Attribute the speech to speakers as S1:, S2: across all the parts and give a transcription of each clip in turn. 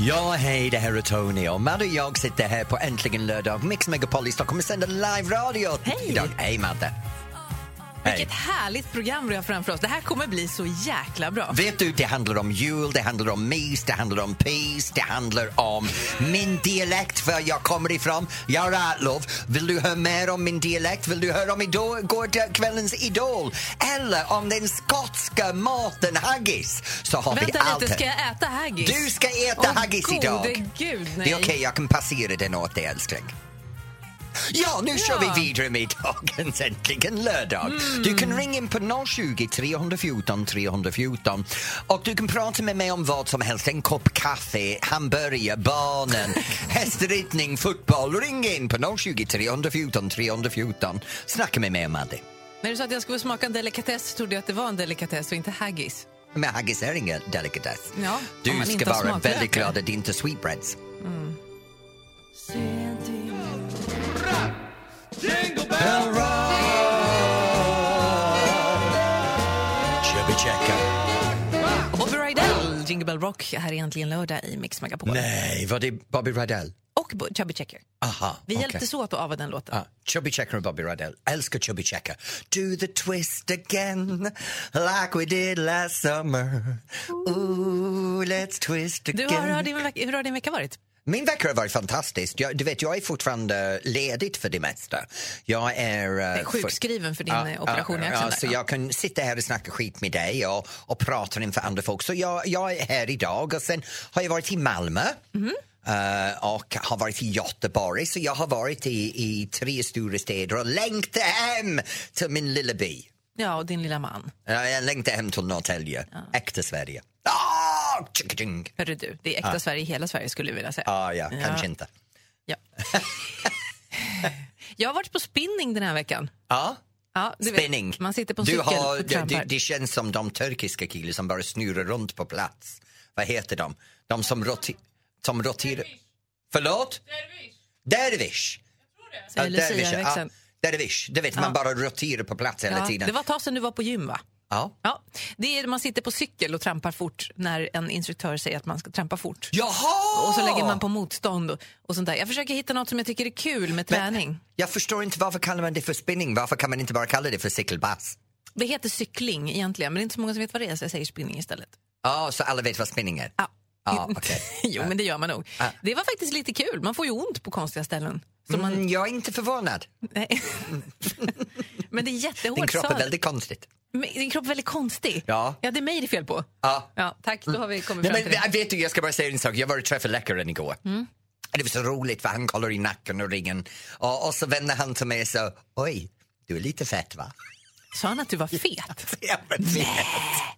S1: Ja, hej, det här är Tony och Madde och jag sitter här på Äntligen lördag, Mix Megapol i Stockholm och sänder live radio
S2: Hej.
S1: idag. Hej Madde! Hej.
S2: Vilket härligt program vi har framför oss. Det här kommer bli så jäkla bra.
S1: Vet du, det handlar om jul, det handlar om mys, det handlar om peace, det handlar om min dialekt, var jag kommer ifrån. Jag är Atlov. Vill du höra mer om min dialekt? Vill du höra om idol, går till kvällens Idol? Eller om den skotska maten haggis? Så har vi
S2: Vänta
S1: allt
S2: lite, ska
S1: här.
S2: jag äta haggis?
S1: Du ska äta
S2: Åh,
S1: haggis idag.
S2: gode gud, nej.
S1: Det är okej, jag kan passera den åt dig älskling. Ja, nu kör
S2: Ja. Mm.
S1: vi vidare med dagens Äntligen lördag. Du kan ringa in på 020 314 314 och du kan prata med mig om vad som helst. En kopp kaffe, hamburgare, barnen, hästrittning, fotboll. Ring in på 020 314 314. Snacka med mig om Madde.
S2: När du sa att jag skulle smaka en delikatess trodde jag att det var en delikatess och inte haggis.
S1: Men haggis är ingen delikatess.
S2: Ja, om
S1: du
S2: man
S1: ska
S2: inte har
S1: vara
S2: smaklökar.
S1: väldigt glad att det inte är sweetbreads. Bell Rock. Chubby Checker.
S2: Och Bobby Rydell, Jingle Bell Rock, här är äntligen lördag i Mix Megapol.
S1: Nej, var det Bobby Rydell?
S2: Och Bo- Chubby Checker.
S1: Aha,
S2: Vi
S1: okej.
S2: hjälptes åt att ava den låten.
S1: Ah, Chubby Checker och Bobby Rydell. Älskar Chubby Checker. Do the twist again like we did last summer. Ooh, let's twist
S2: Du,
S1: again.
S2: har, hur, har din veck- hur har din vecka varit?
S1: Min vecka har varit fantastisk. Jag, du vet, jag är fortfarande ledig för det mesta. Jag är... eh,
S2: är sjukskriven för din, eh, operation
S1: ja,
S2: i axeln
S1: ja,
S2: där,
S1: så
S2: ja.
S1: Jag kan sitta här och snacka skit med dig och, och prata inför andra folk. Så jag, jag är här idag och sen har jag varit i Malmö.
S2: Mhm.
S1: eh, och har varit i Göteborg, så jag har varit i, i tre stora städer och längtar hem till min lilla by.
S2: Ja, och din lilla man.
S1: Eh, jag längtar hem till Norrtälje, äkta Sverige. Ah, tjicka-tjing.
S2: Hörru du, det är äkta Sverige i hela Sverige skulle jag vilja säga.
S1: ah, ja, kanske inte.
S2: Ja. jag har varit på spinning den här veckan.
S1: Ja.
S2: Ja, du vet,
S1: Spinning.
S2: man sitter på en
S1: du
S2: cykel
S1: har,
S2: och
S1: det, det,
S2: trampar.
S1: det känns som de turkiska killar som bara snurrar runt på plats. Vad heter de? De som, roti- som roterar... Förlåt? Dervish.
S2: Säger
S1: Ja, dervish. Ja,
S2: Lucia-växeln.
S1: dervish. Du vet, man bara roterar på plats hela
S2: Ja,
S1: tiden.
S2: det var ett tag sedan du var på gym va?
S1: ja.
S2: Ja, det är, man sitter på cykel och trampar fort när en instruktör säger att man ska trampa fort.
S1: Jaha!
S2: Och så lägger man på motstånd och, och sånt där. Jag försöker hitta något som jag tycker är kul med träning.
S1: Jag förstår inte varför kallar man det för spinning. Varför kan man inte bara kalla det för cykelbass?
S2: Det heter cykling egentligen, men det är inte så många som vet vad det är så jag säger spinning istället.
S1: Ja, så alla vet vad spinning är?
S2: Ja.
S1: Ja, okej.
S2: jo, men det gör man nog. Det var faktiskt lite kul. Man får ju ont på konstiga ställen. Så man,
S1: Mm, jag är inte förvånad.
S2: nej. men det är jättehårt.
S1: Din kropp är
S2: sadel.
S1: väldigt konstigt.
S2: Men Din kropp är väldigt konstig.
S1: Ja.
S2: ja, det är mig det är fel på.
S1: Ja.
S2: Ja, tack, då har vi kommit
S1: Nej, men,
S2: fram till det.
S1: jag vet du, jag ska bara säga en sak. Jag var och träffade läkaren igår.
S2: Mm.
S1: Det var så roligt för han kollar i nacken och ryggen och, och så vände han till mig och sa Oj, du är lite fett va?
S2: Sa han att du var fet?
S1: Jag, bara, "Fett."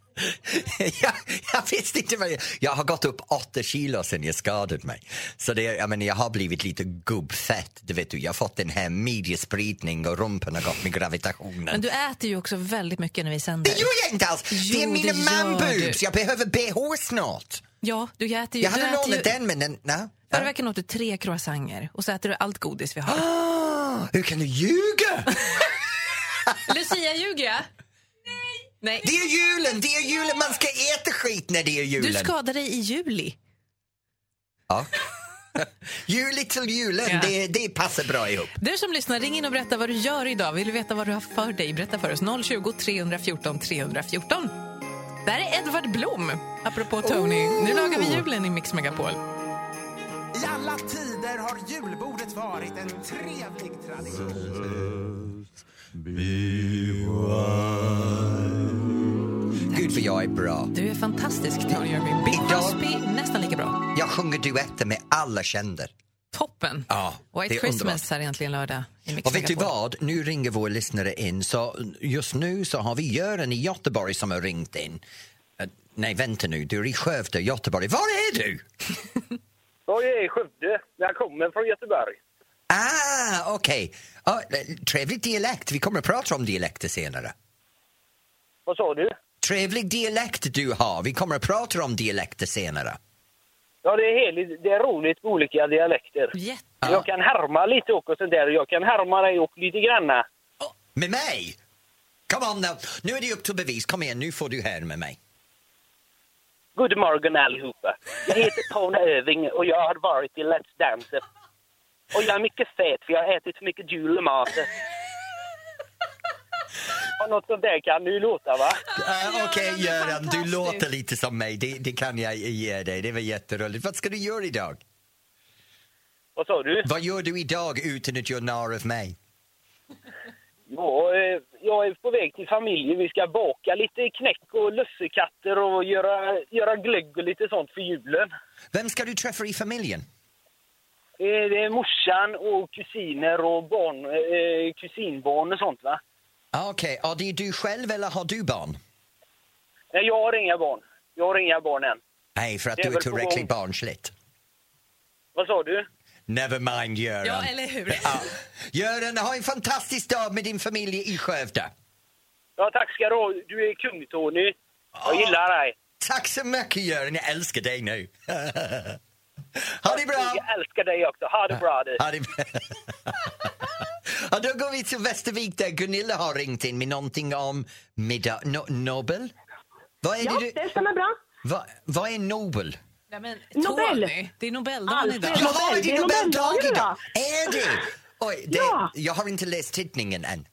S1: jag, jag visste inte vad jag... Jag har gått upp åtta kilo sen jag skadade mig. Så det, jag, menar, jag har blivit lite gubbfett. Det vet du. Jag har fått den här midjespridning och rumpen har gått med gravitationen.
S2: Men du äter ju också väldigt mycket när vi sänder.
S1: Det gör jag inte alls! det är
S2: Jo,
S1: mina
S2: det gör
S1: manboobs!
S2: du.
S1: Jag behöver bh snart.
S2: Ja, du äter ju...
S1: Jag
S2: du
S1: hade
S2: äter
S1: lånat
S2: ju,
S1: den men den... Nej.
S2: Förra veckan åt du tre croissanter och så äter du allt godis vi har.
S1: Ah, Hur kan du ljuga?
S2: Lucia, ljuger jag? Nej.
S1: Det är julen, det är julen, man ska äta skit när det är
S2: Du
S1: julen.
S2: skadade dig i juli.
S1: Ja. Juli till julen,
S2: Ja.
S1: det, det passar bra ihop.
S2: Du som lyssnar, ring in och berätta vad du gör idag. Vill du veta vad du har för dig? Berätta för oss. 020 314 314. Där är Edvard Blom, apropå Tony. Nu lagar vi julen i Mix Megapol.
S3: I alla tider har julbordet varit en trevlig tradition.
S1: Gud vad jag är bra.
S2: Du är fantastisk, Tony Irving. Bill
S1: Idag-
S2: Cosby, nästan lika bra.
S1: Jag sjunger duetter med alla känder.
S2: Toppen.
S1: Ja,
S2: White
S1: det är
S2: Christmas
S1: underbart.
S2: här egentligen lördag i Mix
S1: Och vet du
S2: Megapol.
S1: vad? Nu ringer vår lyssnare in. Så just nu så har vi Göran i Göteborg som har ringt in. Eh, nej, vänta nu. Du är i Skövde, Göteborg. Var är du?
S4: Jag är i Skövde, men jag kommer från Göteborg.
S1: Ah, okej. Ja, eh, trevlig dialekt. Vi kommer att prata om dialekter senare.
S4: Vad sa du?
S1: Trevlig dialekt du har. Vi kommer att prata om dialekter senare.
S4: Ja, det är, heligt, det är roligt med olika dialekter.
S2: Jätte...
S4: Jag kan härma lite också sånt där. Jag kan härma dig och lite granna.
S1: Med mig? Come on now. Nu är det upp till bevis. Kom igen, nu får du här med mig.
S4: God morgon allihopa. Jag heter Tone Öving och jag har varit i Let's Dance. Och jag är mycket fet för jag har ätit för mycket julmat. Och något sånt där kan du låta va?
S1: Uh, Okej,
S2: det är
S1: Göran, du
S2: fantastiskt.
S1: låter lite som mig. Det, det kan jag ge dig. Det var jätteroligt. Vad ska du göra idag?
S4: Vad sa du?
S1: Vad gör du idag utan att göra narr av mig?
S4: Ja, eh, jag är på väg till familjen. Vi ska baka lite knäck och lussekatter och göra, göra glögg och lite sånt för julen.
S1: Vem ska du träffa i familjen?
S4: Eh, Det är morsan och kusiner och barn, eh, kusinbarn och sånt va?
S1: Ah, Okej, ja, det är du själv eller har du barn?
S4: Nej, jag har inga barn. Jag har inga barn än.
S1: Nej, för att
S4: Det är
S1: du är
S4: väl på
S1: tillräckligt
S4: gång.
S1: barnsligt.
S4: Vad sa du?
S1: Never mind, Göran.
S2: Ja, eller hur?
S1: Ja. Göran, ha en fantastisk dag med din familj i Skövde.
S4: Ja, tack ska du ha. Du är kung, Tony. Jag gillar dig.
S1: Tack så mycket, Göran. Jag älskar dig nu. ha det bra!
S4: Jag älskar dig också. Ha det bra du.
S1: Ja, det... ja, då går vi till Västervik där Gunilla har ringt in med någonting om middag... No- Nobel? Vad är,
S5: Ja,
S1: det du...
S5: det stämmer bra.
S1: Va, vad är Nobel?
S2: Nej, men,
S5: Nobel.
S2: Tony, det är Nobeldagen
S5: Alfred.
S2: idag.
S5: Ja, Nobel,
S1: Jaha,
S5: det är Nobeldagen idag.
S1: Är det? Oj, det...
S5: Ja.
S1: Jag har inte läst tidningen än.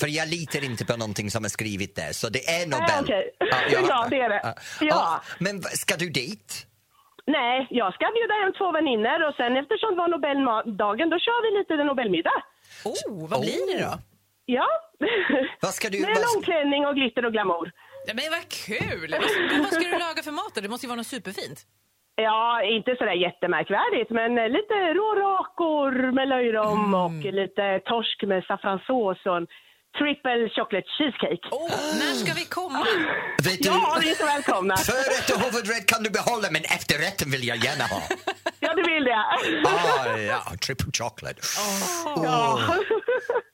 S1: För jag litar inte på någonting som är skrivet där, så det är Nobel.
S5: Nej, Ah, okej.
S1: jag-
S5: Ja, det är det. Ja.
S1: men v- ska du dit?
S5: Nej, jag ska bjuda hem två vänner och sen eftersom det var Nobeldagen då kör vi lite Nobelmiddag.
S2: Oh, vad blir det då?
S5: Ja.
S1: Vad ska du...
S5: Med
S1: vad ska-
S5: långklänning och glitter och glamour.
S2: Nej, men vad kul! Vad ska- Vad ska du laga för mat då? Det måste ju vara något superfint.
S5: Ja, inte sådär jättemärkvärdigt men eh, lite rårakor med
S1: Mm.
S5: löjrom och lite torsk med saffransås och en triple chocolate cheesecake.
S2: Oh, när ska vi komma?
S1: Vet du,
S5: Ja, ni är så välkomna.
S1: förrätt och huvudrätt kan du behålla, men efterrätten vill jag gärna ha.
S5: Ja, du vill det.
S1: Ah, ja, triple chocolate.
S5: Ah. Ja.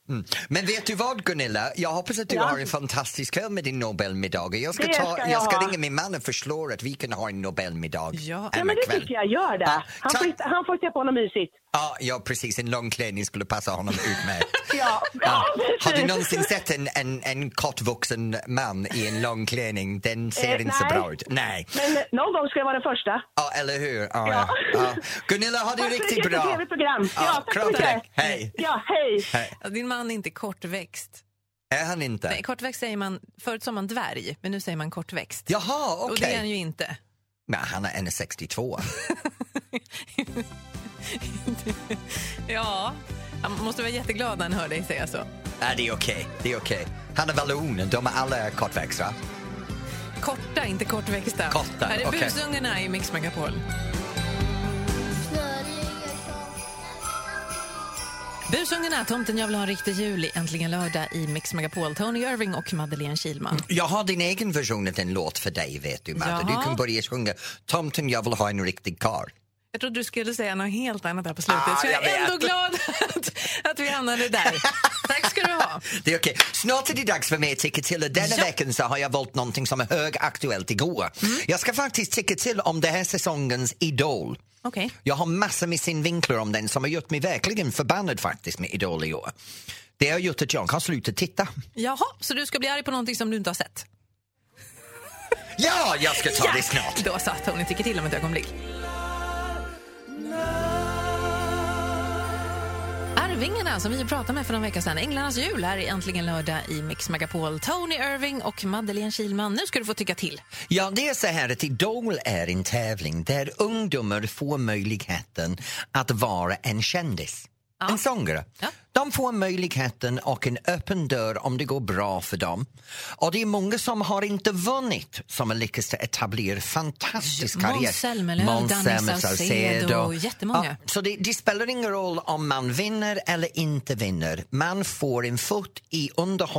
S1: Mm. Men vet du vad Gunilla? Jag hoppas att du
S5: Ja.
S1: har en fantastisk kväll med din Nobelmiddag. Och Jag ska,
S5: Det
S1: ta,
S5: ska jag
S1: jag ska
S5: ha.
S1: ringa min man och förslå att vi kan ha en Nobelmiddag.
S2: Ja.
S5: Ja,
S1: en
S5: men det
S1: kväll.
S5: tycker jag. Gör
S1: Ja,
S5: det. Han
S1: tack.
S5: får, hitta- han får hitta på något mysigt.
S1: Ja, ja, precis. En lång klänning skulle passa honom utmärkt.
S5: Ja,
S1: Ja.
S5: ja precis.
S1: Har du någonsin sett en, en, en kortvuxen man i en lång klänning? Den ser
S5: Eh,
S1: inte så
S5: nej.
S1: bra ut. Nej.
S5: Men eh, någon gång ska jag vara den första.
S1: Ja, eller hur? Ja, ja. Ja. Gunilla, ha det
S5: Tack för
S1: riktigt
S5: ett
S1: bra.
S5: jättetrevligt program. Ja,
S1: Ja,
S5: tack
S1: kram
S5: så
S1: till
S5: mycket.
S1: dig. Hej.
S5: Ja, hej.
S2: Din man är inte kortväxt.
S1: Är han inte?
S2: Nej, kortväxt säger man, förut sa man dvärg, men nu säger man kortväxt.
S1: Jaha, okej.
S2: Och det är han ju inte.
S1: Nej, han är E 1,62.
S2: Ja, han måste vara jätteglad när han hör dig säga så.
S1: Nej, det är okej. Det är okej. Han är vallonen. De är alla kortväxta.
S2: Korta, inte kortväxta.
S1: Korta,
S2: Här är
S1: okej.
S2: busungarna i Mix Megapol. Busungarna, tomten jag vill ha en riktig jul i Äntligen lördag i Mix Megapol. Tony Irving och Madeleine Kilman.
S1: Jag har din egen version av en låt för dig, vet du, Madde. Du
S2: Jaha.
S1: kan börja sjunga Tomten, jag vill ha en riktig karl.
S2: Jag trodde du skulle säga något helt annat här på slutet.
S1: Ah,
S2: så jag
S1: jag
S2: är ändå
S1: vet.
S2: glad att, att vi hamnade där. Tack ska du ha.
S1: Det är okej. Snart är det dags för mig att tycka till och denna
S2: Ja. Mm.
S1: veckan så har jag valt någonting som är högaktuellt igår. Jag ska faktiskt tycka till om det här säsongens Idol.
S2: Okej.
S1: Jag har massor med synvinklar om den som har gjort mig verkligen förbannad faktiskt med Idol i år. Det har gjort att jag har slutat titta.
S2: Jaha, så du ska bli arg på någonting som du inte har sett?
S1: Ja, jag ska ta det snart!
S2: Då sa Tony tycker till om ett ögonblick. Arvingarna som vi pratade med för någon vecka sedan. Änglarnas jul här är äntligen lördag i Mix Megapol. Tony Irving och Madeleine Kilman. Nu ska du få tycka till.
S1: Ja, det är så här att Idol är en tävling där ungdomar får möjligheten att vara en kändis. En sångare.
S2: Ja.
S1: De får möjligheten och en öppen dörr om det går bra för dem. Och det är många som har inte vunnit som har lyckats etablera fantastisk
S2: Måns
S1: karriär.
S2: Zelmerlöw,
S1: Måns
S2: Danny
S1: Zelmerlöw,
S2: Saucedo, jättemånga.
S1: Ja, så det, det spelar ingen roll om man vinner eller inte vinner. Man får en fot i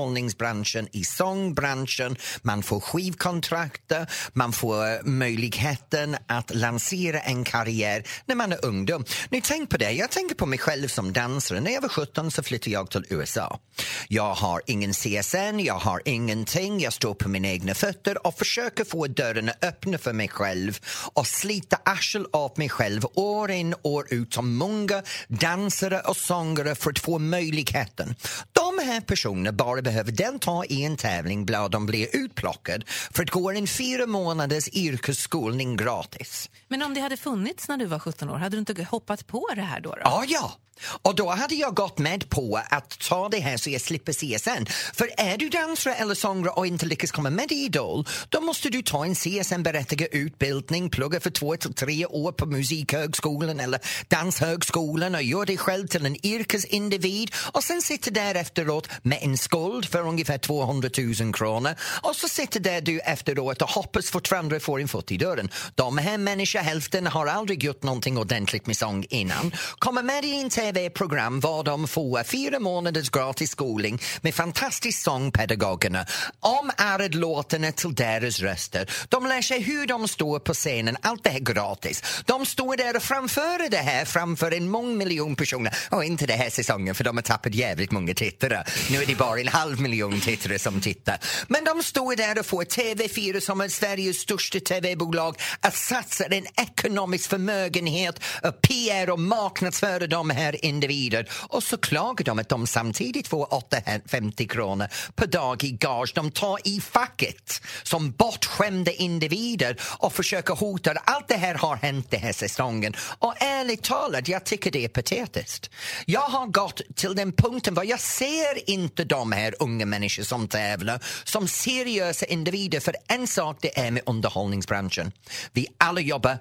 S1: underhållningsbranschen, i sångbranschen, man får skivkontrakt, man får eh, möjligheten att lansera en karriär när man är ungdom. Nu tänk på det, jag tänker på mig själv som dansare. När jag var 17 så flyttade jag till USA. Jag har ingen CSN, jag har ingenting, jag står på mina egna fötter och försöker få dörrarna öppna för mig själv och slita arsel av mig själv år in år ut som många dansare och sångare för att få möjligheten. De här personerna bara behöver delta i en tävling där de blir utplockade för att gå en fyra månaders yrkesskolning gratis.
S2: Men om det hade funnits när du var 17 år, hade du inte hoppat på det här då? då?
S1: Ja, ja. Och då hade jag gått med på att ta det här så jag slipper CSN. För är du dansare eller sångare och inte lyckas komma med i Idol, då måste du ta en CSN-berättigad utbildning, plugga för två till tre år på Musikhögskolan eller Danshögskolan och göra dig själv till en yrkesindivid och sen sitta där efteråt med en skuld för ungefär 200 000 kronor och så sitter där du efteråt och hoppas fortfarande få en fot i dörren. De här människorna, hälften, har aldrig gjort någonting ordentligt med sång innan. Kommer med i en tv-program var de får fyra månaders gratis skolning med fantastisk sångpedagogerna. Om Arid-låtarna till deras röster. De lär sig hur de står på scenen. Allt det här gratis. De står där och framför det här framför en mång miljon personer. Och inte det här säsongen för de har tappat jävligt många tittare. Nu är det bara en halv miljon tittare som tittar. Men de står där och får TV4 som är Sveriges största tv-bolag att satsa en ekonomisk förmögenhet, eh, PR och marknadsföra de här individer. Och så klagar de att de samtidigt får 850 kronor per dag i gage. De tar i facket som bortskämda individer och försöker hota. Allt det här har hänt den här säsongen. Och ärligt talat, jag tycker det är patetiskt. Jag har gått till den punkten var jag ser inte de här unga människor som tävlar som seriösa individer. För en sak det är med underhållningsbranschen. Vi alla jobbar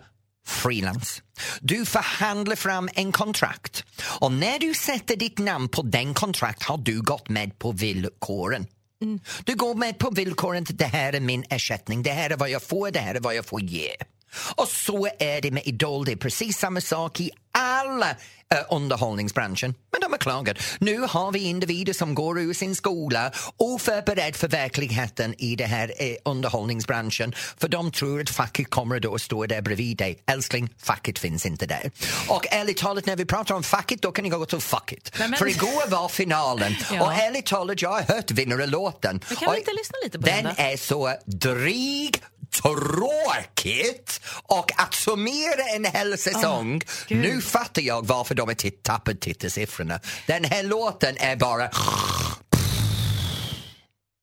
S1: freelance. Du förhandlar fram en kontrakt och när du sätter ditt namn på den kontrakt har du gått med på villkoren. Du går med på villkoren att det här är min ersättning, det här är vad jag får, det här är vad jag får ge. Och så är det med Idol, det är precis samma sak i alla eh, underhållningsbranschen. Men de har klagat. Nu har vi individer som går ur sin skola oförberedd för verkligheten i det här eh, underhållningsbranschen för de tror att facket kommer då att stå där bredvid dig. Älskling, facket finns inte där. Och ärligt talat, när vi pratar om facket, då kan jag gå till facket.
S2: Nej, men-
S1: För igår var finalen
S2: Ja.
S1: och ärligt talat, jag har hört vinnarlåten.
S2: Vi kan väl
S1: Och
S2: inte lyssna lite på den
S1: den
S2: då?
S1: är så dryg tråkigt och att summera en hel säsong. nu fattar jag varför de har titt- tappat tittarsiffrorna. Den här låten är bara...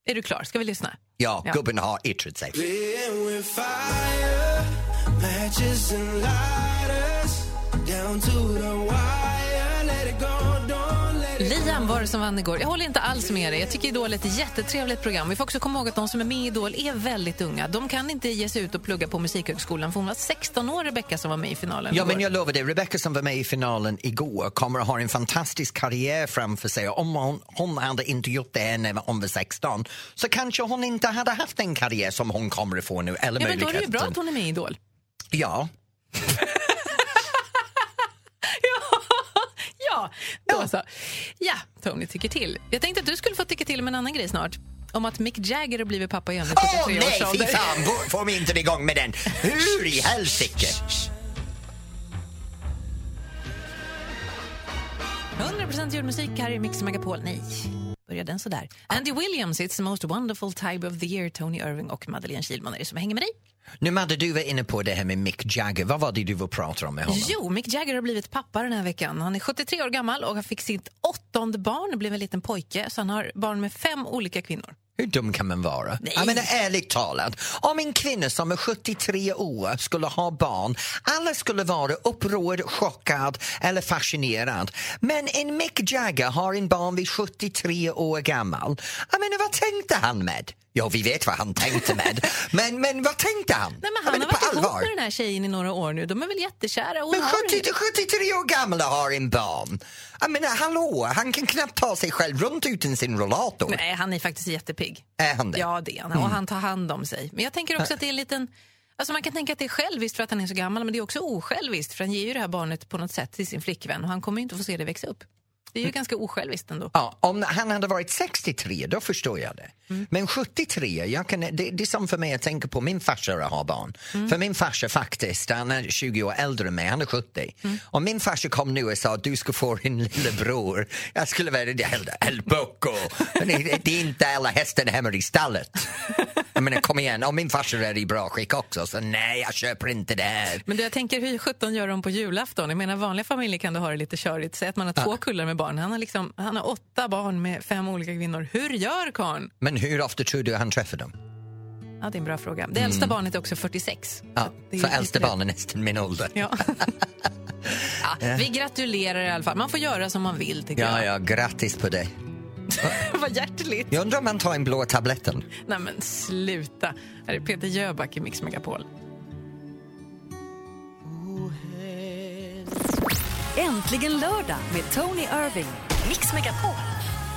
S2: Är du klar? Ska vi lyssna?
S1: Ja,
S2: Ja.
S1: gubben har yttrat sig.
S2: Liam var det som vann igår. Jag håller inte alls med dig. Jag tycker Idol är ett jättetrevligt program. Vi får också komma ihåg att de som är med i Idol är väldigt unga. De kan inte ge sig ut och plugga på Musikhögskolan för hon var 16 år, Rebecca, som var med i finalen
S1: Ja, men
S2: igår.
S1: jag lovar dig, Rebecca som var med i finalen igår kommer att ha en fantastisk karriär framför sig. Om hon, hon hade inte gjort det här när hon var 16 så kanske hon inte hade haft den karriär som hon kommer att få nu. Eller
S2: Ja, men då är det ju bra
S1: möjligheten.
S2: att hon är med i Idol.
S1: Ja,
S2: Ja, då så. Ja, Tony tycker till. Jag tänkte att du skulle få tycka till om en annan grej snart. Om att Mick Jagger har blivit pappa igen vid
S1: Åh
S2: 73 års
S1: nej, fy
S2: ålder.
S1: fan! Får- Får mig inte igång med den. Hur i helsike?
S2: 100% julmusik här i Mix Megapol. Nej, börjar den sådär. Andy Williams, It's the most wonderful time of the year. Tony Irving och Madeleine Kilman är det som hänger med dig.
S1: Nu Madde, du var inne på det här med Mick Jagger. Vad var det du var pratade om med honom?
S2: Jo, Mick Jagger har blivit pappa den här veckan. Han är 73 år gammal och han fick sitt åttonde barn. Det blev en liten pojke, så han har barn med fem olika kvinnor.
S1: Hur dum kan man vara?
S2: Nej.
S1: Jag menar ärligt talat, om en kvinna som är 73 år skulle ha barn, alla skulle vara upprörd, chockad eller fascinerad. Men en Mick Jagger har en barn vid 73 år gammal. Jag menar, vad tänkte han med? Ja, vi vet vad han tänkte med. men, men vad tänkte han?
S2: Nej, men
S1: Jag
S2: han
S1: menar,
S2: har
S1: på
S2: varit ihop
S1: allvar.
S2: med den här tjejen i några år nu. De är väl jättekära. och hon
S1: Men
S2: har-
S1: 70, 73 år gamla har en barn. Jag menar, hallå, han kan knappt ta sig själv runt utan sin rollator.
S2: Nej, han är faktiskt jättepigg.
S1: Är han det?
S2: Ja, det är han.
S1: Mm.
S2: Och han tar hand om sig. Men jag tänker också att det är en liten... Alltså man kan tänka att det är själviskt för att han är så gammal, men det är också osjälviskt för han ger ju det här barnet på något sätt till sin flickvän och han kommer ju inte få se det växa upp. Det är
S1: Mm.
S2: ju ganska osjälviskt ändå.
S1: Ja, om han hade varit 63, då förstår jag det.
S2: Mm.
S1: Men 73, jag kan, det, det är som för mig att tänka på min farsa har barn.
S2: Mm.
S1: För min farsa faktiskt, han är 20 år äldre än mig, han är 70.
S2: Mm.
S1: Om min farsa kom nu och sa att du ska få din lillebror, jag skulle vara det helt, helt boko. Men det, det är inte alla hästen hemma i stallet. Jag menar, kom igen, om min farsa är i bra skick också, så nej, jag köper inte det här.
S2: Men du, jag tänker hur sjutton gör de på julafton? Jag menar, vanliga familjer kan du ha det lite körigt. Säg att man har två kullar med barn. Han har, liksom, han har åtta barn med fem olika kvinnor. Hur gör karln?
S1: Men hur ofta tror du han träffar dem?
S2: Ja, det är en bra fråga. Det äldsta barnet är också 46.
S1: Mm. Ja,
S2: att det är
S1: för
S2: lite-
S1: äldsta barnen är nästan min ålder.
S2: Ja. ja, vi gratulerar i alla fall. Man får göra som man vill, tycker
S1: Ja,
S2: jag.
S1: ja, grattis på dig.
S2: Vad hjärtligt.
S1: Jag undrar om man tar en blå tabletten.
S2: Nej, men sluta. Här är Peter Jöback i Mix Megapol.
S6: Äntligen lördag med Tony Irving. Mix Megapol.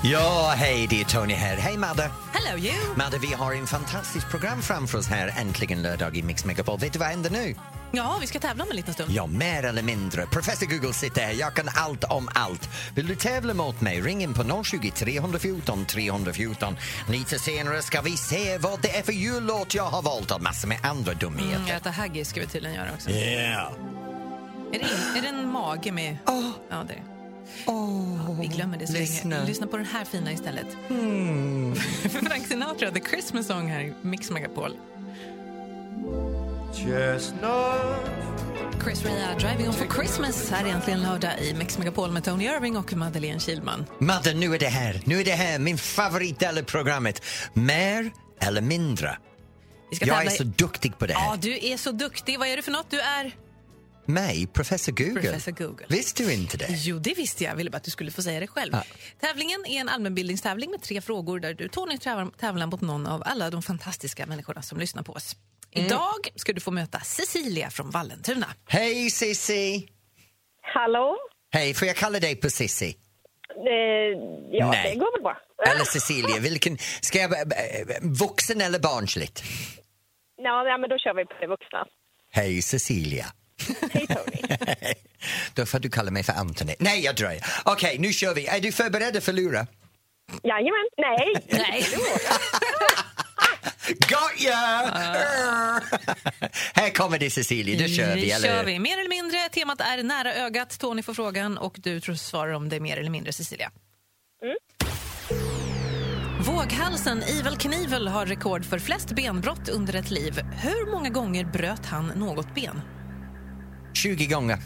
S1: Ja, hej, det är Tony här. Hej, Madde.
S2: Hello you!
S1: Madde, vi har en fantastiskt program framför oss här äntligen lördag i Mix Megapol. Vet du vad händer nu?
S2: Ja, vi ska tävla om en liten stund.
S1: Ja, mer eller mindre. Professor Google sitter här. Jag kan allt om allt. Vill du tävla mot mig? Ring in på 020 314 314. Lite senare ska vi se vad det är för jullåt jag har valt och massor med andra
S2: Mm,
S1: dumheter.
S2: äta haggis ska vi tydligen göra också.
S1: Yeah.
S2: Är, det in, är det en mage med... Ja, det är det. Vi glömmer det så länge.
S1: lyssna.
S2: Lyssna på den här fina istället. Frank Sinatra, The Christmas Song här i Mix Megapol. Chris Rea, Driving on for Christmas. Här är äntligen lördag i Mix Megapol med Tony Irving och Madeleine Kilman.
S1: Madde, nu är det här. Nu är det här. Min favoritdel i programmet. Mer eller mindre.
S2: Vi ska
S1: Jag är
S2: tävla i-
S1: så duktig på det här.
S2: Ja, du är så duktig. Vad är du för något? Du är...
S1: Mig, Professor Google.
S2: Professor Google.
S1: Visste du inte det?
S2: Jo, det visste jag. Jag ville bara att du skulle få säga det själv.
S1: Ja.
S2: Tävlingen är en allmänbildningstävling med tre frågor där du, Tony, tävlar- tävlar mot någon av alla de fantastiska människorna som lyssnar på oss.
S1: Mm.
S2: Idag ska du få möta Cecilia från Vallentuna.
S1: Hej Sissi!
S5: Hallå?
S1: Hej, får jag kalla dig på Sissi?
S5: Eh, ja,
S1: Nej.
S5: det går väl bra.
S1: Eller Cecilia, vilken... Ska jag... eh, eh, Vuxen eller barnsligt?
S5: Ja, nej, men då kör vi på det vuxna.
S1: Hej Cecilia!
S5: Hej Tony.
S1: Då får du kalla mig för Anthony. Nej, jag dröjer. Okej, nu kör vi. Är du förberedd för lura?
S5: Jajamän. Nej.
S2: Nej.
S1: Got ya! Här kommer det Cecilia, då kör vi, eller
S2: Ah. kör
S1: hur?
S2: vi. Mer eller mindre. Temat är nära ögat. Tony får frågan och du tror svarar om det är mer eller mindre, Cecilia. Våghalsen Evil Knievel har rekord för flest benbrott under ett liv. Hur många gånger bröt han något ben?
S1: 20 gånger.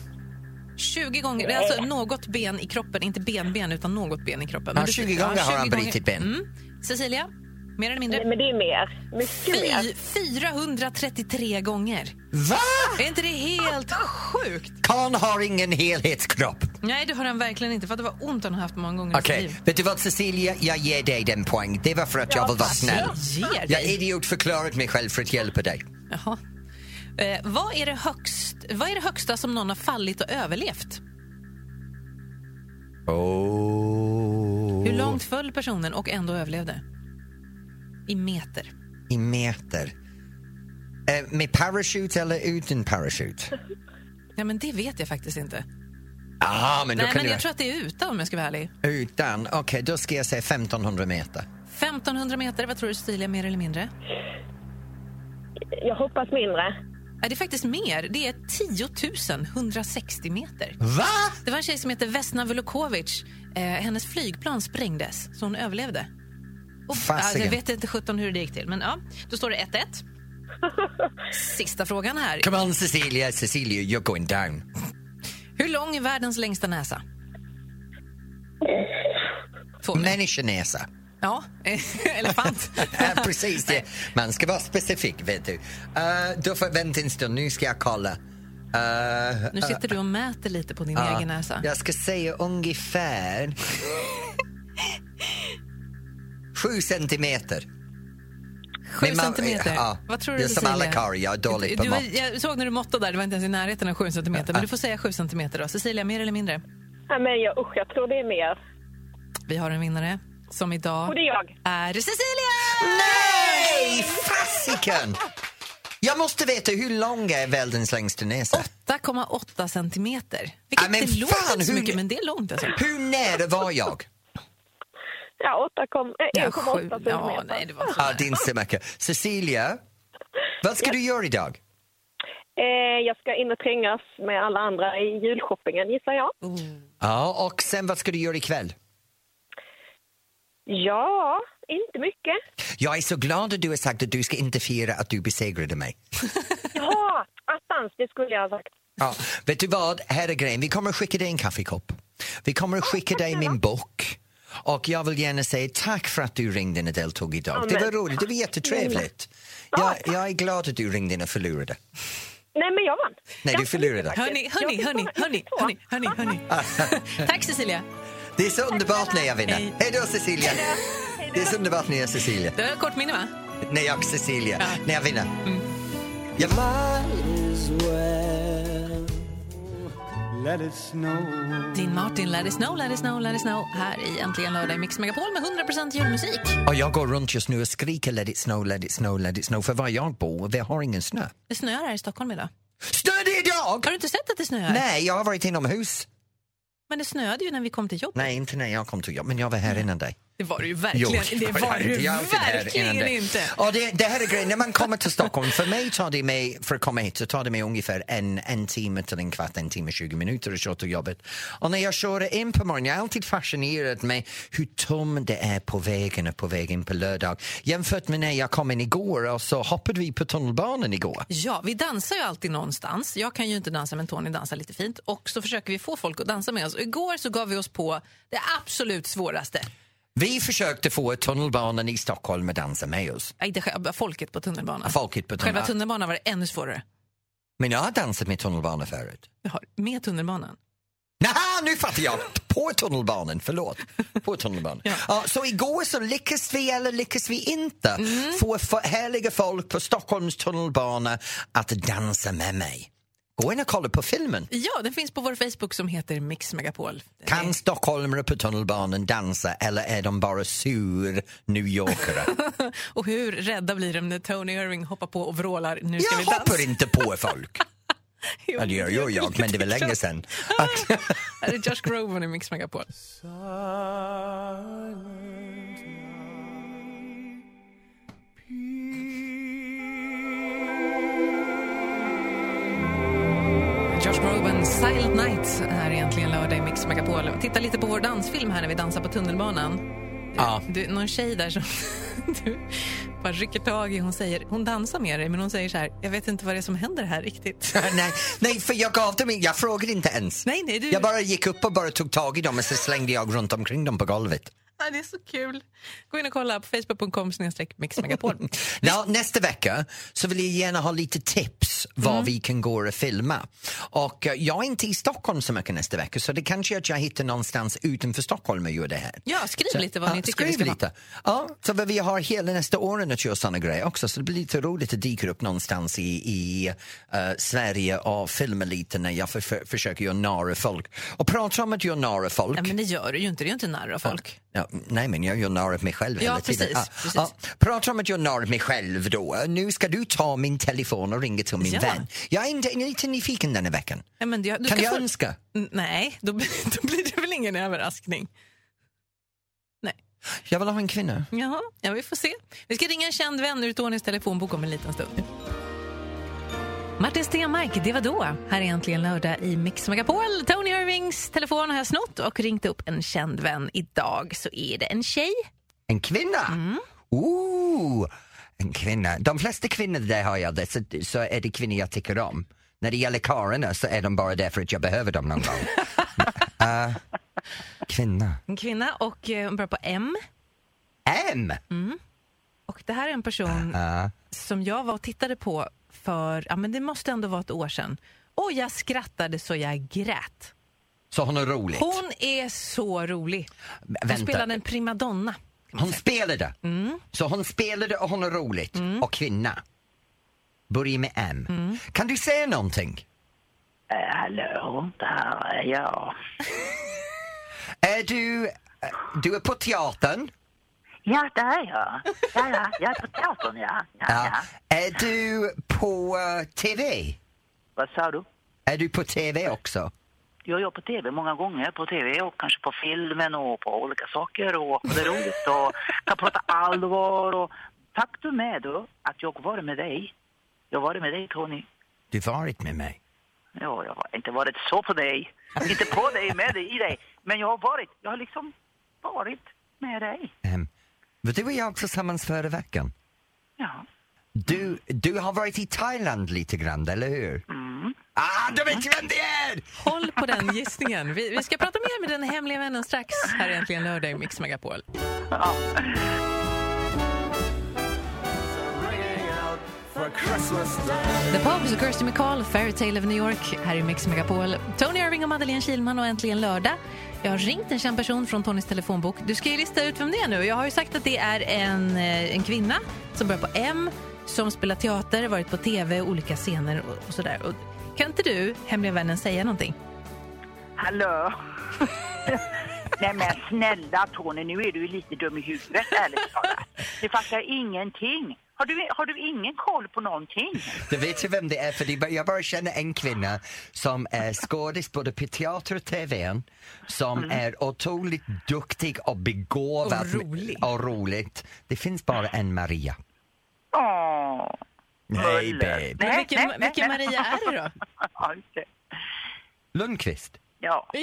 S2: 20 gånger. Det är alltså något ben i kroppen, inte benben utan något ben i kroppen.
S1: Ja,
S2: du-
S1: 20 gånger har han brutit ben.
S2: Mm. Cecilia, mer eller mindre?
S5: Nej, men det är mer. Mycket mer.
S2: Fy, 433 gånger.
S1: Va?
S2: Är inte det helt sjukt?
S1: Karln har ingen helhetskropp.
S2: Nej, det har han verkligen inte. För att det var ont han har haft många gånger i
S1: Okej,
S2: sitt liv.
S1: vet du vad Cecilia? Jag ger dig den poäng. Det var för att jag vill vara snäll.
S2: Ger
S1: Jag
S2: dig.
S1: idiotförklarat mig själv för att hjälpa dig.
S2: Jaha. Eh, vad, är det högst, vad är det högsta som någon har fallit och överlevt?
S1: Oh.
S2: Hur långt föll personen och ändå överlevde? I meter.
S1: I meter. Eh, med parachute eller utan parachute?
S2: Nej, men det vet jag faktiskt inte.
S1: Ah, men då
S2: Nej,
S1: kan
S2: men
S1: du...
S2: jag tror att det är utan om jag ska vara ärlig.
S1: Utan? Okej, då ska jag säga 1500 meter.
S2: 1500 meter, vad tror du Cecilia, mer eller mindre?
S5: Jag hoppas mindre.
S2: Nej, det är faktiskt mer. Det är 10 160 meter.
S1: Va?
S2: Det var en tjej som hette Vesna Vulukovic. Eh, hennes flygplan sprängdes, så hon överlevde. Och,
S1: Fasiken.
S2: jag vet inte sjutton hur det gick till, men ja, då står det 1-1. Sista frågan här.
S1: Come on Cecilia, Cecilia, you're going down.
S2: Hur lång är världens längsta näsa? Två minuter.
S1: Människonäsa.
S2: Ja, eh, elefant.
S1: Ja, precis det. Man ska vara specifik, vet du. Eh, då får, vänta en stund, nu ska jag kolla. Eh,
S2: Nu sitter du och mäter lite på din
S1: Ja,
S2: egen näsa.
S1: Ah, Jag ska säga ungefär... Sju centimeter.
S2: Sju
S1: Min mam-
S2: centimeter?
S1: ja.
S2: Vad tror du
S1: Det är som
S2: Cecilia?
S1: alla karlar, jag är dålig
S2: Du-
S1: på
S2: du var-
S1: mått.
S2: Jag såg när du måttade där, du var inte ens i närheten av sju centimeter. Men du får säga sju centimeter då. Cecilia, mer eller mindre?
S7: Nej, men jag, usch, jag tror det är mer.
S2: Vi har en vinnare som
S7: Och
S2: idag
S7: det är jag.
S2: är Cecilia!
S1: Nej, fasiken! Jag måste veta, hur lång är världens längsta näsa?
S2: 8,8 centimeter. Vilket
S1: Ja, men
S2: inte låter
S1: fan,
S2: så
S1: hur-
S2: mycket, men det är långt alltså.
S1: Hur nära var jag?
S7: Ja, 8 kom- eh, 1,8
S2: sju- ja,
S7: centimeter.
S2: nej, det var så
S1: Ja,
S2: nära.
S1: din simacka. Cecilia, vad ska du göra idag?
S7: eh, jag ska in och trängas med alla andra i julshoppingen, gissar jag.
S2: Oh.
S1: Ja, och sen vad ska du göra ikväll?
S7: Ja, inte mycket.
S1: Jag är så glad att du har sagt att du ska inte fira att du besegrade mig.
S7: Ja, attans, det skulle jag ha sagt.
S1: Ja, vet du vad, här är grejen. Vi kommer att skicka dig en kaffekopp. Vi kommer att skicka dig min bok. Och jag vill gärna säga tack för att du ringde och deltog idag. Det var roligt, det var jättetrevligt. Jag, jag är glad att du ringde och förlorade.
S7: Nej, men jag vann.
S1: Nej, du
S7: Jag
S1: förlorade.
S2: Hörni, hörni, hörni, hörni, hörni, hörni, hörni. Tack Cecilia.
S1: Det är så underbart när jag vinner.
S2: Hej.
S1: Hej då, Cecilia! Det är så underbart när jag är Cecilia.
S2: Du har kort minne va?
S1: När jag är Cecilia. När jag vinner. Jag,
S2: Din Martin, let it snow, let it snow, let it snow. Här i Äntligen lördag i Mix Megapol med 100% julmusik.
S1: och jag går runt just nu och skriker let it snow, let it snow, let it snow. För var jag bor, vi har ingen snö.
S2: Det snöar här i Stockholm idag.
S1: Snö det är idag!
S2: Har du inte sett att det snöar?
S1: Nej, jag har varit inomhus.
S2: Men det snöade ju när vi kom till jobbet.
S1: Nej, inte när jag kom till jobbet, men jag var här innan dig.
S2: Det var Mm. det ju verkligen, det var
S1: jag
S2: det
S1: inte.
S2: ju
S1: Jag är alltid här innan
S2: verkligen
S1: dig.
S2: inte.
S1: Och det, det här är grejen, när man kommer till Stockholm, för mig tar det mig, för att komma hit, så tar det mig ungefär en, en timme till en kvart, en timme, 20 minuter att köra till jobbet. Och när jag kör in på morgonen, jag är alltid fascinerad med hur tom det är på vägen och på vägen på lördag. Jämfört med när jag kom in igår och så hoppade vi på tunnelbanan igår.
S2: Ja, vi dansar ju alltid någonstans. Jag kan ju inte dansa, men Tony dansar lite fint. Och så försöker vi få folk att dansa med oss. Och igår så gav vi oss på det absolut svåraste.
S1: Vi försökte få tunnelbanan i Stockholm att dansa med oss.
S2: Nej, inte själva- folket på tunnelbanan.
S1: Folket på
S2: Själva
S1: tunnelbanan.
S2: tunnelbanan var det ännu svårare.
S1: Men jag har dansat med tunnelbanan förut.
S2: Vi har med tunnelbanan.
S1: Naha, nu fattar jag! På tunnelbanan, förlåt. På tunnelbanan. ja. så igår så lyckas vi eller lyckas vi inte få för härliga folk på Stockholms tunnelbana att dansa med mig. Gå in och kolla på filmen.
S2: Ja, den finns på vår Facebook som heter Mix Megapol. Den är-
S1: Kan stockholmare på tunnelbanan dansa eller är de bara sur New Yorkare?
S2: Och hur rädda blir de när Tony Irving hoppar på och vrålar nu ska vi
S1: jag
S2: dansa?
S1: hoppar inte på folk.
S2: Jo,
S1: Ja, det gör ju jag, men det var länge sedan.
S2: Här är Josh Groban i Mix Megapol. Josh Groban, Silent Night, här är egentligen lördag i Mix Megapol. Titta lite på vår dansfilm här när vi dansar på tunnelbanan.
S1: Ja.
S2: Du, någon tjej där som du bara rycker tag i. Hon, säger, hon dansar med dig, men hon säger så här, jag vet inte vad det är som händer här riktigt.
S1: nej, nej, för jag gav dem in- Jag frågade inte ens.
S2: Nej, nej, du...
S1: Jag bara gick upp och bara tog tag i dem och så slängde jag runt omkring dem på golvet.
S2: Ja, det är så kul. Gå in och kolla på facebook.com snedstreck mixmegapol.
S1: Nå, nästa vecka så vill jag gärna ha lite tips var
S2: Mm.
S1: vi kan gå och filma. Och eh, jag är inte i Stockholm så mycket nästa vecka så det kanske är att jag hittar någonstans utanför Stockholm och gör det här.
S2: Ja, skriv lite vad
S1: Ja,
S2: ni tycker vi
S1: skriv
S2: ska
S1: lite. Ja, så vad vi har hela nästa åren att göra sådana grejer också så det blir lite roligt att dyka upp någonstans i, i eh, Sverige och filma lite när jag för, för, försöker göra nära folk. Och pratar om att göra nära folk.
S2: Ja, men det gör du ju inte. Det är ju inte nära folk.
S1: Ja, nej, men jag gör narr av mig själv
S2: Ja,
S1: hela tiden.
S2: precis, precis.
S1: prata om att jag narr av mig själv då. Nu ska du ta min telefon och ringa till min
S2: Ja.
S1: vän. Jag är inte, jag är lite nyfiken den här veckan.
S2: Ja, men jag, du
S1: kan
S2: ska
S1: jag
S2: få-
S1: önska?
S2: N- Nej, då, blir- då blir det väl ingen överraskning. Nej.
S1: Jag vill ha en kvinna.
S2: Jaha, ja, vi får se. Vi ska ringa en känd vän ur Tonys telefonbok om en liten stund. Martin Stenmark, det var då. Här är äntligen lördag i Mix Megapol. Tony Irvings telefon har jag snott och ringt upp en känd vän. Idag så är det en tjej.
S1: En kvinna? Ooh, en kvinna. De flesta kvinnor där har jag det, så, så är det kvinnor jag tycker om. När det gäller karlarna så är de bara där för att jag behöver dem någon gång. Eh, kvinna.
S2: En kvinna och eh, hon börjar på M.
S1: M!
S2: Och det här är en person
S1: Ja.
S2: som jag var och tittade på för, ja men det måste ändå vara ett år sedan. Och jag skrattade så jag grät.
S1: Så hon är rolig.
S2: Hon är så rolig. Hon
S1: Vänta.
S2: spelade en primadonna. kan man
S1: Hon
S2: säga.
S1: spelade. Så hon spelade och hon har roligt. Och kvinna. Börjar med M.
S8: Äh,
S1: Kan du säga någonting?
S7: hallå, där är jag.
S1: Är du, eh, du är på teatern?
S8: Ja, det är jag. Ja, ja, jag är på teatern, ja. ja, ja.
S1: Är du på eh, TV?
S8: Vad sa du?
S1: Är du på TV också?
S8: Jag är på tv många gånger, på tv och kanske på filmen och på olika saker och det är roligt och kan prata allvar och faktum är då att jag var med dig. Jag var med dig Tony.
S1: Du varit med mig.
S8: Ja, jag har inte varit så på dig. Inte på dig, med dig, i dig. Men jag har varit, jag har liksom varit med dig.
S1: Ehm, var du och jag tillsammans förra veckan?
S8: Ja.
S1: Du, du har varit i Thailand lite grann, eller hur? Ah, då vet jag vem det är!
S2: Håll på den gissningen. Vi, vi ska prata mer med den hemliga vännen strax. Här är Äntligen lördag i Mix Megapol. The Pogues och Kirsty McCall, Fairytale of New York, här i Mix Megapol. Tony Irving och Madeleine Kilman och Äntligen lördag. Jag har ringt en känd person från Tonys telefonbok. Du ska ju lista ut vem det är nu. Jag har ju sagt att det är en, eh, en kvinna som börjar på M, som spelar teater, varit på tv, olika scener och, och sådär. Och, kan inte du, hemliga vännen, säga någonting?
S8: Hallå? Nej men snälla Tony, nu är du ju lite dum i huvudet ärligt talat. Du fattar ingenting. Har du, har du ingen koll på någonting?
S1: Du vet ju vem det är, för det, är bara- jag bara känner en kvinna som är skådis både på teater och TV, som är otroligt duktig och begåvad.
S8: Och rolig.
S1: Mm. och roligt. Det finns bara en Maria.
S8: Åh.
S1: Nej, babe.
S2: Men vilken- vilken Maria är det då?
S8: Ja, just det.
S1: Lundqvist.
S8: Ja.
S2: Ja!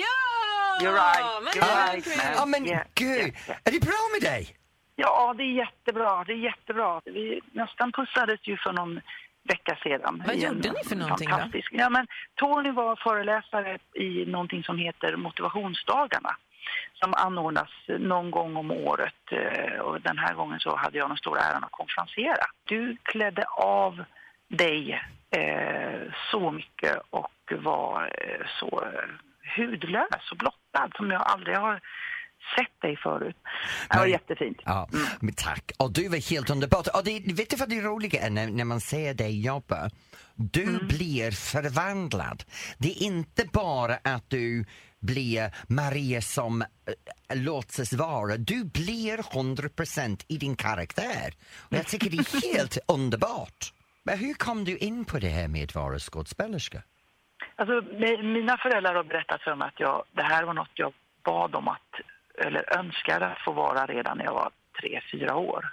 S8: You're right.
S2: Men
S8: You're
S2: herregud.
S8: right man.
S1: Ja, ah, men
S8: Yeah,
S1: gud,
S8: yeah, yeah.
S1: är det bra med dig?
S8: Ja, det är jättebra. Det är jättebra. Vi nästan pussades ju för någon vecka sedan.
S2: Vad
S8: I en
S2: gjorde ni för någonting då?
S8: fantastisk- Ja, men Tony var föreläsare i någonting som heter motivationsdagarna som anordnas någon gång om året. eh, Och den här gången så hade jag den stora äran att konferensera. Du klädde av dig eh, så mycket och var eh, så eh, hudlös och blottad som jag aldrig har sett dig förut. Det var
S1: Men-
S8: jättefint.
S1: Ja, men tack. Och du var helt underbart. Och det, vet du vad det roliga är när, när man ser dig jobba? Du blir förvandlad. Det är inte bara att du blir Maria som äh, låtsas vara. Du blir 100% i din karaktär. Och jag tycker det är helt underbart. Men hur kom du in på det här med att vara skådespelerska?
S8: Alltså, mi- mina föräldrar har berättat för mig att jag, det här var något jag bad om att, eller önskade att få vara redan när jag var tre, fyra år.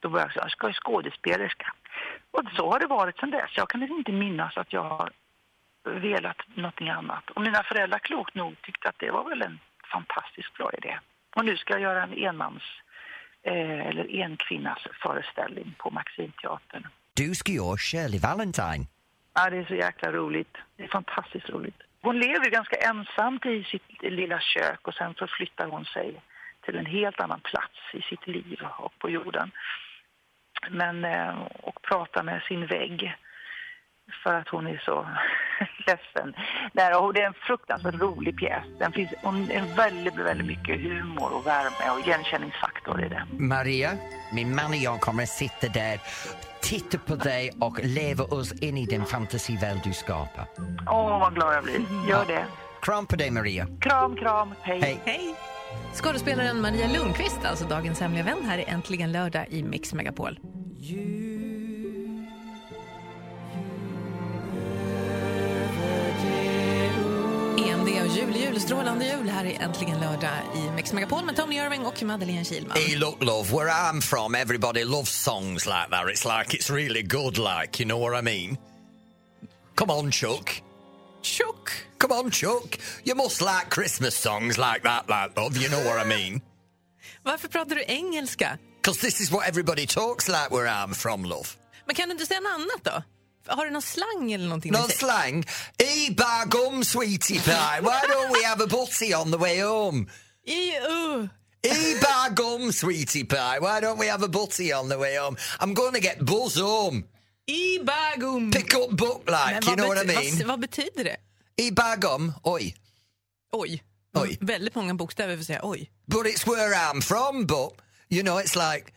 S8: Då började jag säga, jag ska vara skådespelerska. Och så har det varit sedan dess. Jag kan liksom inte minnas att jag har velat någonting annat. Och mina föräldrar klokt nog tyckte att det var väl en fantastiskt bra idé. Och nu ska jag göra en enmans eh, eller enkvinnas föreställning på Maximteatern.
S1: Du ska göra Shirley Valentine.
S8: Ja, det är så jäkla roligt. Det är fantastiskt roligt. Hon lever ju ganska ensamt i sitt lilla kök och sen så flyttar hon sig till en helt annan plats i sitt liv och på jorden. Men, eh, och pratar med sin vägg för att hon är så ledsen. Nej, och det är en fruktansvärt rolig pjäs. Den finns hon är väldigt, väldigt mycket humor och värme och igenkänningsfaktor i den.
S1: Maria, min man och jag kommer att sitta där, titta på dig och leva oss in i den fantasivärld du skapar.
S8: Åh, vad glad jag blir. Gör det.
S1: Kram på dig, Maria.
S8: Kram, kram.
S1: Hej.
S2: Hej! Skådespelaren Maria Lundqvist, alltså dagens hemliga vän, här i Äntligen lördag i Mix Megapol. EMD E och jul, jul, strålande jul här i Äntligen lördag i Mix Megapol med Tony Irving och Madeleine Kilman.
S1: Hey, look, love, where I'm from, everybody loves songs like that. It's like it's really good, like, you know what I mean? Come on, Chuck. Chuck? Come on, Chuck. You must like Christmas songs like that, like, love, you know what I mean?
S2: Varför pratar du engelska?
S1: Because this is what everybody talks like where I'm from, love.
S2: Men kan du inte säga något annat då? Har du någon slang eller någonting?
S1: No slang. E bar gum, sweetie pie. Why don't we have a butty on the way home?
S2: E uh.
S1: E bar gum, sweetie pie. Why don't we have a butty on the way home? I'm going to get buzz home.
S2: E bagum.
S1: Pick up book like, you know what I
S2: Vad,
S1: mean?
S2: vad betyder det?
S1: E bar gum, oi.
S2: Oj.
S1: Oj.
S2: Väldigt många bokstäver för att säga oj.
S1: But it's where I'm from, but, you know, it's like,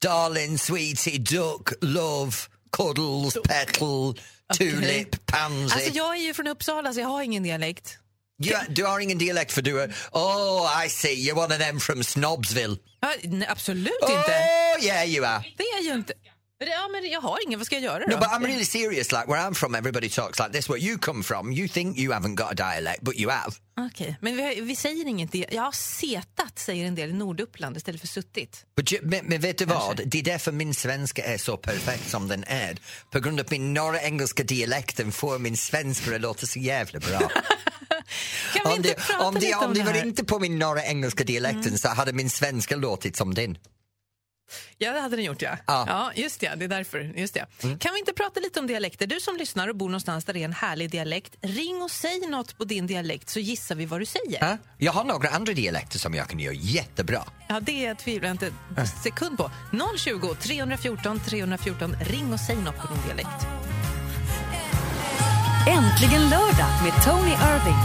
S1: darling, sweetie, duck, love, cuddles, petal, tulip, pansy.
S2: Alltså jag är ju från Uppsala så jag har ingen dialekt.
S1: Ja, du har ingen dialekt för du är... Oh, I see, you're one of them from Snobsville.
S2: Ja, nej, absolut inte.
S1: Oh, yeah you are.
S2: Det är ju inte... Ja, men jag har ingen. Vad ska jag göra då?
S1: No, but I'm really serious. Like, where I'm from, everybody talks like this. Where you come from, you think you haven't got a dialect, but you have.
S2: Okej, men vi, har- vi säger inget. di- Jag har setat, säger en del i Norduppland istället för suttit.
S1: But you, men, men vet du vad? Det är därför min svenska är så perfekt som den är. På grund av min norra engelska dialekten får min svenska att låta så jävla bra.
S2: Kan vi
S1: om
S2: inte
S1: det,
S2: prata
S1: om det,
S2: lite om
S1: om det
S2: det
S1: var
S2: här?
S1: inte på min norra engelska dialekten
S2: Mm.
S1: så hade min svenska låtit som din.
S2: Ja, det hade den gjort, ja.
S1: Ja. Mm.
S2: Ja, just det. Det är därför. Just det. Kan vi inte prata lite om dialekter? Du som lyssnar och bor någonstans där det är en härlig dialekt, ring och säg något på din dialekt så gissar vi vad du säger.
S1: Ja? Jag har några andra dialekter som jag kan göra jättebra.
S2: Ja, det tvivlar jag inte en sekund på. 020 314 314, ring och säg något på din dialekt.
S6: Äntligen lördag med Tony Irving.